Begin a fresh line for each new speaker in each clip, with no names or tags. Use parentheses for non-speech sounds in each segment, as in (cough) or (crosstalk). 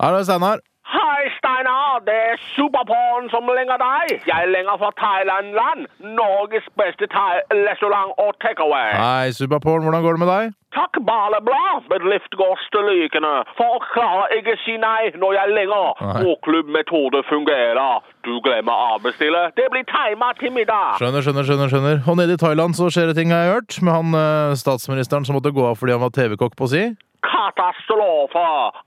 Hallo, Steinar.
Hei, Steinar. Det er Superporn som lenger deg. Jeg lenger fra Thailand-land. Norges beste thai-restaurant og takeaway.
Hei, Superporn. Hvordan går det med deg?
Takk, Baleblad. Bedrift går strykende. For klarer ikke si nei når jeg lenger.
Nei.
Vår klubbmetode fungerer. Du glemmer avbestille. Det blir timet til middag.
Skjønner, skjønner, skjønner. skjønner. Og nede i Thailand så skjer det ting jeg har hørt, med han eh, statsministeren som måtte gå av fordi han var TV-kokk på si.
Katastrofe.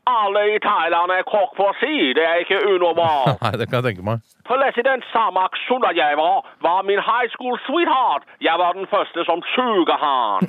Alle i Thailand er kokk for si. Det er ikke unormalt.
(laughs) Nei, det kan jeg tenke meg.
President Samak Sundajever var min high school sweetheart. Jeg var den første som suga han.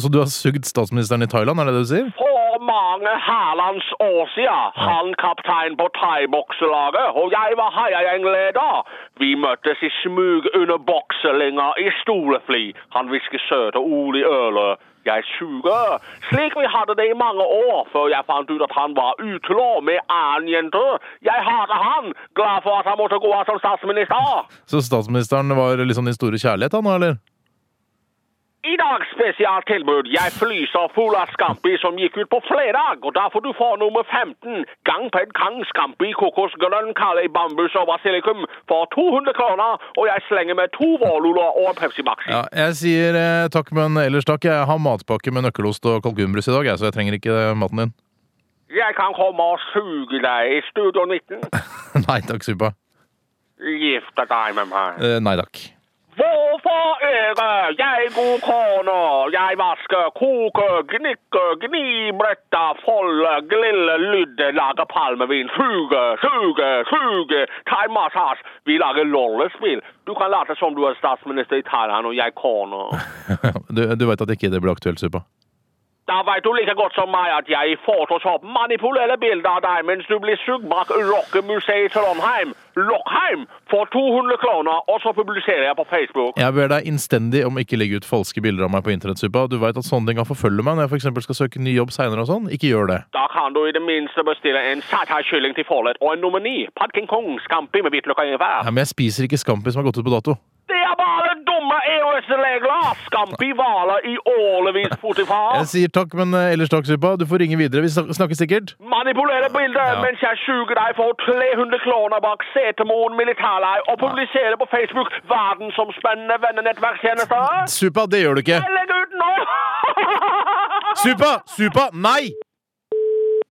Så du har sugd statsministeren i Thailand, er det det du sier?
For mange herlands år siden. Han kaptein på thaibokselaget, og jeg var heiagjeng-leder. Vi møttes i smug under bokselinga i stolefly. Han hvisket søte ord i øret. Jeg suger. Slik vi hadde det i mange år, før jeg fant ut at han var utro med annen jente. Jeg hater han, glad for at han måtte gå av som statsminister.
Så statsministeren var liksom din store kjærlighet, han, eller?
I dag spesialtilbud. Jeg flyser full av Scampi som gikk ut på fredag. Og derfor du får nummer 15. Gang på en gang Scampi kokosgrønn kale i bambus og basilikum for 200 kroner. Og jeg slenger med to vårluller og en Pepsi Maxi.
Ja, jeg sier eh, takk, men ellers takk. Jeg har matpakke med nøkkelost og kalkunbrus i dag, jeg, så jeg trenger ikke eh, maten din.
Jeg kan komme og suge deg i Studio 19.
(laughs) Nei takk, Supa.
Gifte deg med meg.
Eh, Nei takk.
Hvorfor ikke? Jeg god kone. Jeg vasker, koker, gnikker, gnibretter, folder, gliller, lydder, lager palmevin, suger, suger, suger, thaimassasje. Vi lager rollespill. Du kan late som du er statsminister i Thailand, og jeg kone.
(laughs) Du, du veit at ikke det blir aktuelt, Supa?
Da veit du like godt som meg at jeg i Photoshop manipulerer bilder av deg mens du blir sugd bak rockemuseet i Trondheim, Lockheim, for 200 kroner, og så publiserer jeg på Facebook.
Jeg ber deg innstendig om ikke legge ut falske bilder av meg på internett, Supa. Du veit at sånne ting kan forfølge meg når jeg for eksempel skal søke ny jobb seinere og sånn. Ikke gjør det.
Da kan du i det minste bestille en satay-kylling til forrett og en nummer ni. Pad King Kong, scampi med hvitløk og ingefær.
Nei, men jeg spiser ikke Scampi som har gått ut på dato.
Det er bare dumme EØS-regler! Scampi hvaler i årevis, Potifar.
Jeg sier takk, men eh, ellers takk, Supa. Du får ringe videre. Vi snak- snakkes sikkert.
Manipulere bilder
Ja.
mens jeg suger deg for 300 kroner bak Setermoen militærleir og publiserer på Facebook verdensomspennende vennenettverkstjenester.
Supa, det gjør du ikke.
Jeg legger ut nå!
Supa! Supa! Nei!